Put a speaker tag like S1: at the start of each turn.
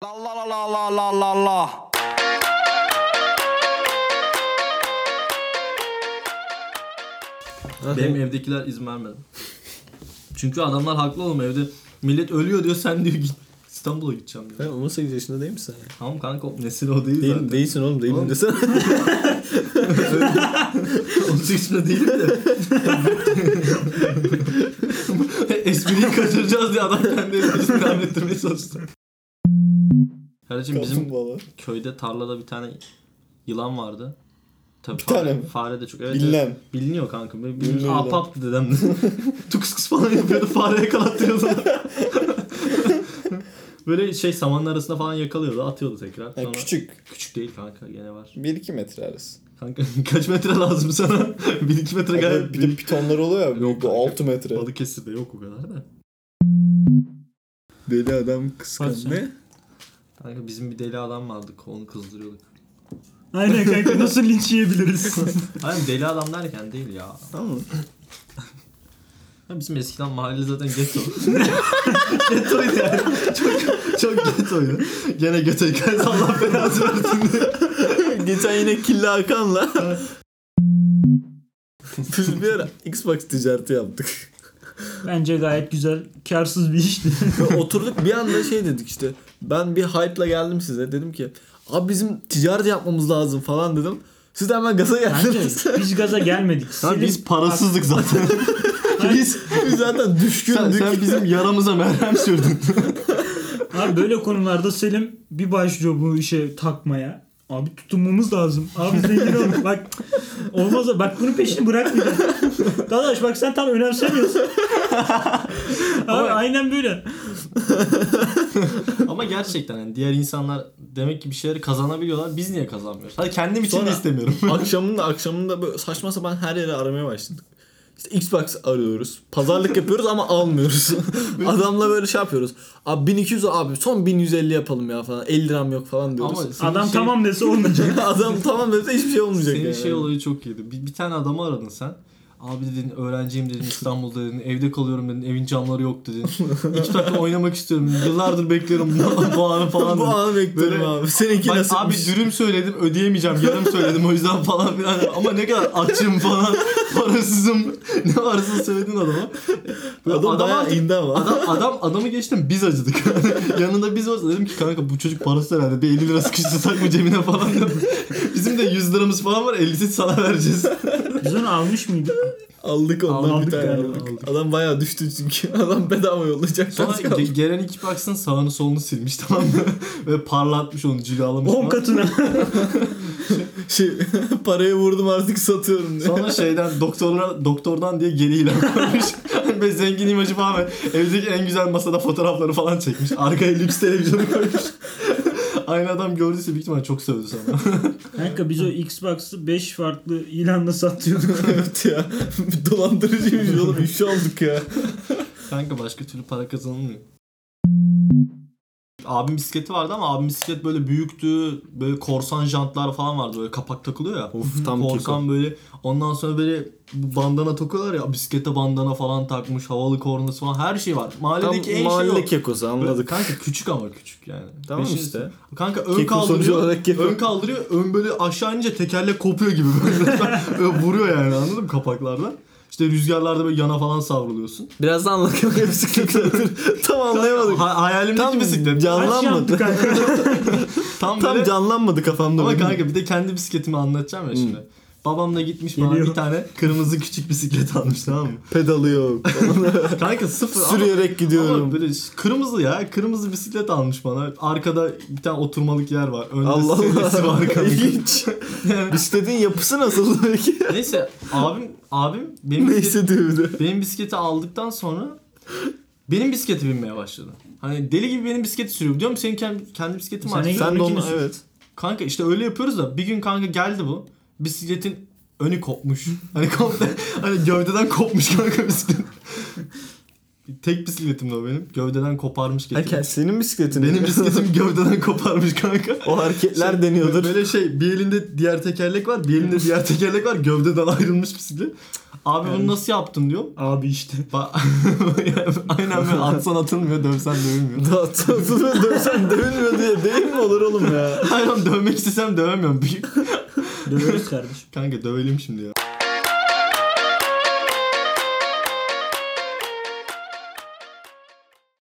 S1: La la la la la la la la.
S2: Benim evdekiler izin vermedi. Çünkü adamlar haklı oğlum evde millet ölüyor diyor sen diyor git İstanbul'a gideceğim diyor.
S3: Sen 18 yaşında değil misin? sen?
S2: Tamam kanka o nesil o değil,
S3: Değil,
S2: zaten.
S3: değilsin oğlum değilim
S2: Oğlum.
S3: desene.
S2: Onun suçuna değilim de. Espriyi kaçıracağız diye adam kendi esprisini devam ettirmeye çalıştı. Kardeşim bizim
S3: Kaplumbağa.
S2: köyde tarlada bir tane yılan vardı. Tabii bir
S3: tane
S2: fare,
S3: mi?
S2: fare de çok. Evet,
S3: Bilinen.
S2: evet. Biliniyor kanka. Benim
S3: Biliniyor
S2: Aa,
S3: da.
S2: paptı dedem de. Tukus kus falan yapıyordu. Fare yakalattırıyordu. Böyle şey samanın arasında falan yakalıyordu. Atıyordu tekrar.
S3: Yani
S2: Sonra-
S3: E, küçük.
S2: Küçük değil kanka. Gene var.
S3: 1-2 metre arası.
S2: Kanka kaç metre lazım sana? 1-2 metre gayet
S3: bir de
S2: büyük.
S3: pitonlar oluyor ya.
S2: Yok
S3: Yok,
S2: kanka.
S3: 6 metre.
S2: Balıkesir'de yok o kadar da.
S3: Deli adam kıskandı.
S4: Hadi
S3: Ne?
S2: Kanka bizim bir deli adam vardı. Onu kızdırıyorduk.
S4: Aynen kanka nasıl linç yiyebiliriz?
S2: Hayır deli adam derken değil ya.
S3: Tamam mı?
S2: Ya bizim eskiden mahalle zaten ghetto. Ghettoydu yani. Çok, çok ghettoydu. Gene ghetto hikayesi Allah belanı versin diye.
S3: Geçen yine Killa Hakan'la biz bir ara Xbox ticareti yaptık.
S4: Bence gayet güzel, karsız bir işti.
S3: Ve oturduk bir anda şey dedik işte. Ben bir hype'la geldim size. Dedim ki abi bizim ticaret yapmamız lazım falan dedim. Siz de hemen gaza
S4: Bence
S3: geldiniz.
S4: biz gaza gelmedik.
S2: Sen
S4: Senin-
S2: biz parasızdık zaten.
S3: biz, biz zaten
S2: sen,
S3: düşkündük.
S2: sen bizim yaramıza merhem sürdün.
S4: Abi böyle konularda Selim bir başlıyor bu işe takmaya. Abi tutunmamız lazım. Abi zengin olduk. Bak olmaz. da- Bak bunun peşini bırakmayacağım. Dadaş bak sen tam önemsemiyorsun. Abi aynen böyle.
S2: Ama gerçekten yani diğer insanlar demek ki bir şeyleri kazanabiliyorlar. Biz niye kazanmıyoruz? Hadi kendim için de
S3: Sonra-
S2: istemiyorum.
S3: akşamında akşamında böyle saçma sapan her yere aramaya başladık. İşte Xbox arıyoruz. Pazarlık yapıyoruz ama almıyoruz. Adamla böyle şey yapıyoruz. Abi 1200 abi son 1150 yapalım ya falan. 50 liram yok falan diyoruz.
S2: Ama senin
S4: Adam
S2: şey-
S4: tamam dese olmayacak.
S3: Adam tamam dese hiçbir şey olmayacak
S2: Senin
S3: yani.
S2: şey olayı çok iyiydi. Bir, bir tane adamı aradın sen. Abi dedin öğrenciyim dedin İstanbul'da dedin evde kalıyorum dedin evin camları yok dedin. İki dakika oynamak istiyorum yıllardır bekliyorum bu, bu anı falan
S3: Bu
S2: dedin.
S3: anı bekliyorum
S2: Böyle-
S3: abi. Seninki
S2: Bak
S3: nasıl?
S2: abi dürüm söyledim ödeyemeyeceğim yarım söyledim o yüzden falan filan ama ne kadar açım falan parasızım ne varsa söyledin adama. Böyle
S3: Adam,
S2: adam
S3: bayağı
S2: artık-
S3: indi ama.
S2: Adam, adam adamı geçtim biz acıdık. Yanında biz varız. Dedim ki kanka bu çocuk parası herhalde. Bir 50 lira sıkıştırsak mı cebine falan. dedim. Bizim de 100 liramız falan var. 50'si sana vereceğiz.
S4: Biz onu almış mıydık?
S3: Aldık ondan
S4: Aldık
S3: bir tane
S4: yani,
S3: aldık.
S2: aldık.
S3: Adam bayağı düştü çünkü. Adam bedava yollayacak.
S2: Sonra ge- gelen iki baksın sağını solunu silmiş tamam mı? Ve parlatmış onu cilalamış
S4: 10
S2: falan.
S4: katına.
S3: şey, parayı vurdum artık satıyorum diye.
S2: Sonra şeyden doktorlara doktordan diye geri ilan koymuş. Ve zengin imajı falan ver. Evdeki en güzel masada fotoğrafları falan çekmiş. Arkaya lüks televizyonu koymuş. Aynı adam gördüyse büyük ihtimalle çok sövdü sana.
S4: Kanka biz o Xbox'ı 5 farklı ilanla satıyorduk.
S3: evet ya. Dolandırıcıymış oğlum. İfşa olduk ya.
S2: Kanka başka türlü para kazanılmıyor. Abim bisikleti vardı ama abim bisiklet böyle büyüktü. Böyle korsan jantlar falan vardı. Böyle kapak takılıyor ya.
S3: Of tam
S2: korsan böyle. Ondan sonra böyle bu bandana takıyorlar ya. Bisiklete bandana falan takmış. Havalı kornası falan. Her şey var. Mahalledeki en şey o.
S3: kekosu
S2: Böyle, kanka küçük ama küçük yani.
S3: Tamam
S2: Beşinci-
S3: işte.
S2: Kanka ön
S3: Keko sonucu
S2: kaldırıyor.
S3: olarak keko.
S2: Ön kaldırıyor. Ön böyle aşağı inince tekerlek kopuyor gibi. Böyle, böyle vuruyor yani anladın mı kapaklardan. İşte rüzgarlarda böyle yana falan savruluyorsun.
S3: Biraz da anlatalım ya bisikletleri. tam anlayamadık.
S2: Ha- hayalimdeki
S3: Tam
S2: bisiklet.
S4: Kaç yaptı
S3: canlanmadı.
S4: kanka?
S2: Tam,
S3: Tam
S2: böyle.
S3: canlanmadı Hmm. kafamda.
S2: Ama
S3: benim.
S2: kanka bir de kendi bisikletimi anlatacağım ya şimdi. Babam da gitmiş bana
S4: Geliyor.
S2: bir tane kırmızı küçük bisiklet almış tamam mı?
S3: Pedalı yok.
S2: Kanka sıfır ama-
S3: Sürüyerek
S2: ama,
S3: gidiyorum.
S2: böyle ş- kırmızı ya kırmızı bisiklet almış bana. Arkada bir tane oturmalık yer var. Önde
S3: Allah
S2: serisi var
S3: Allah.
S2: kanka.
S3: İlginç.
S2: Yani-
S3: Bisikletin yapısı nasıl peki?
S2: Neyse abim abim benim
S3: Neyse diyor bir de.
S2: benim bisikleti aldıktan sonra benim bisiklete binmeye başladı. Hani deli gibi benim bisikleti sürüyor. Diyorum senin kendi, kendi bisikletin var.
S4: Sen ne-
S3: Sen de
S2: Öndekini
S3: onu
S2: sür.
S3: evet.
S2: Kanka işte öyle yapıyoruz da bir gün kanka geldi bu. Bisikletin önü kopmuş. Hani komple hani gövdeden kopmuş kanka bisiklet. Tek bisikletim de o benim. Gövdeden koparmış getirdim.
S3: Erken senin bisikletin.
S2: Benim bisikletim gövdeden koparmış kanka.
S3: o hareketler deniyordur.
S2: Böyle şey bir elinde diğer tekerlek var bir elinde diğer tekerlek var gövdeden ayrılmış bisiklet. Abi bunu nasıl yaptın diyor.
S4: Abi işte.
S2: Ba- Yani Aynen böyle atsan atılmıyor dövsen dövülmüyor.
S3: Daha tatlı dövsen dövülmüyor diye değil mi olur oğlum ya?
S2: Hayır oğlum dövmek istesem dövemiyorum. Bir-
S4: Döveriz kardeşim.
S2: Kanka dövelim şimdi ya.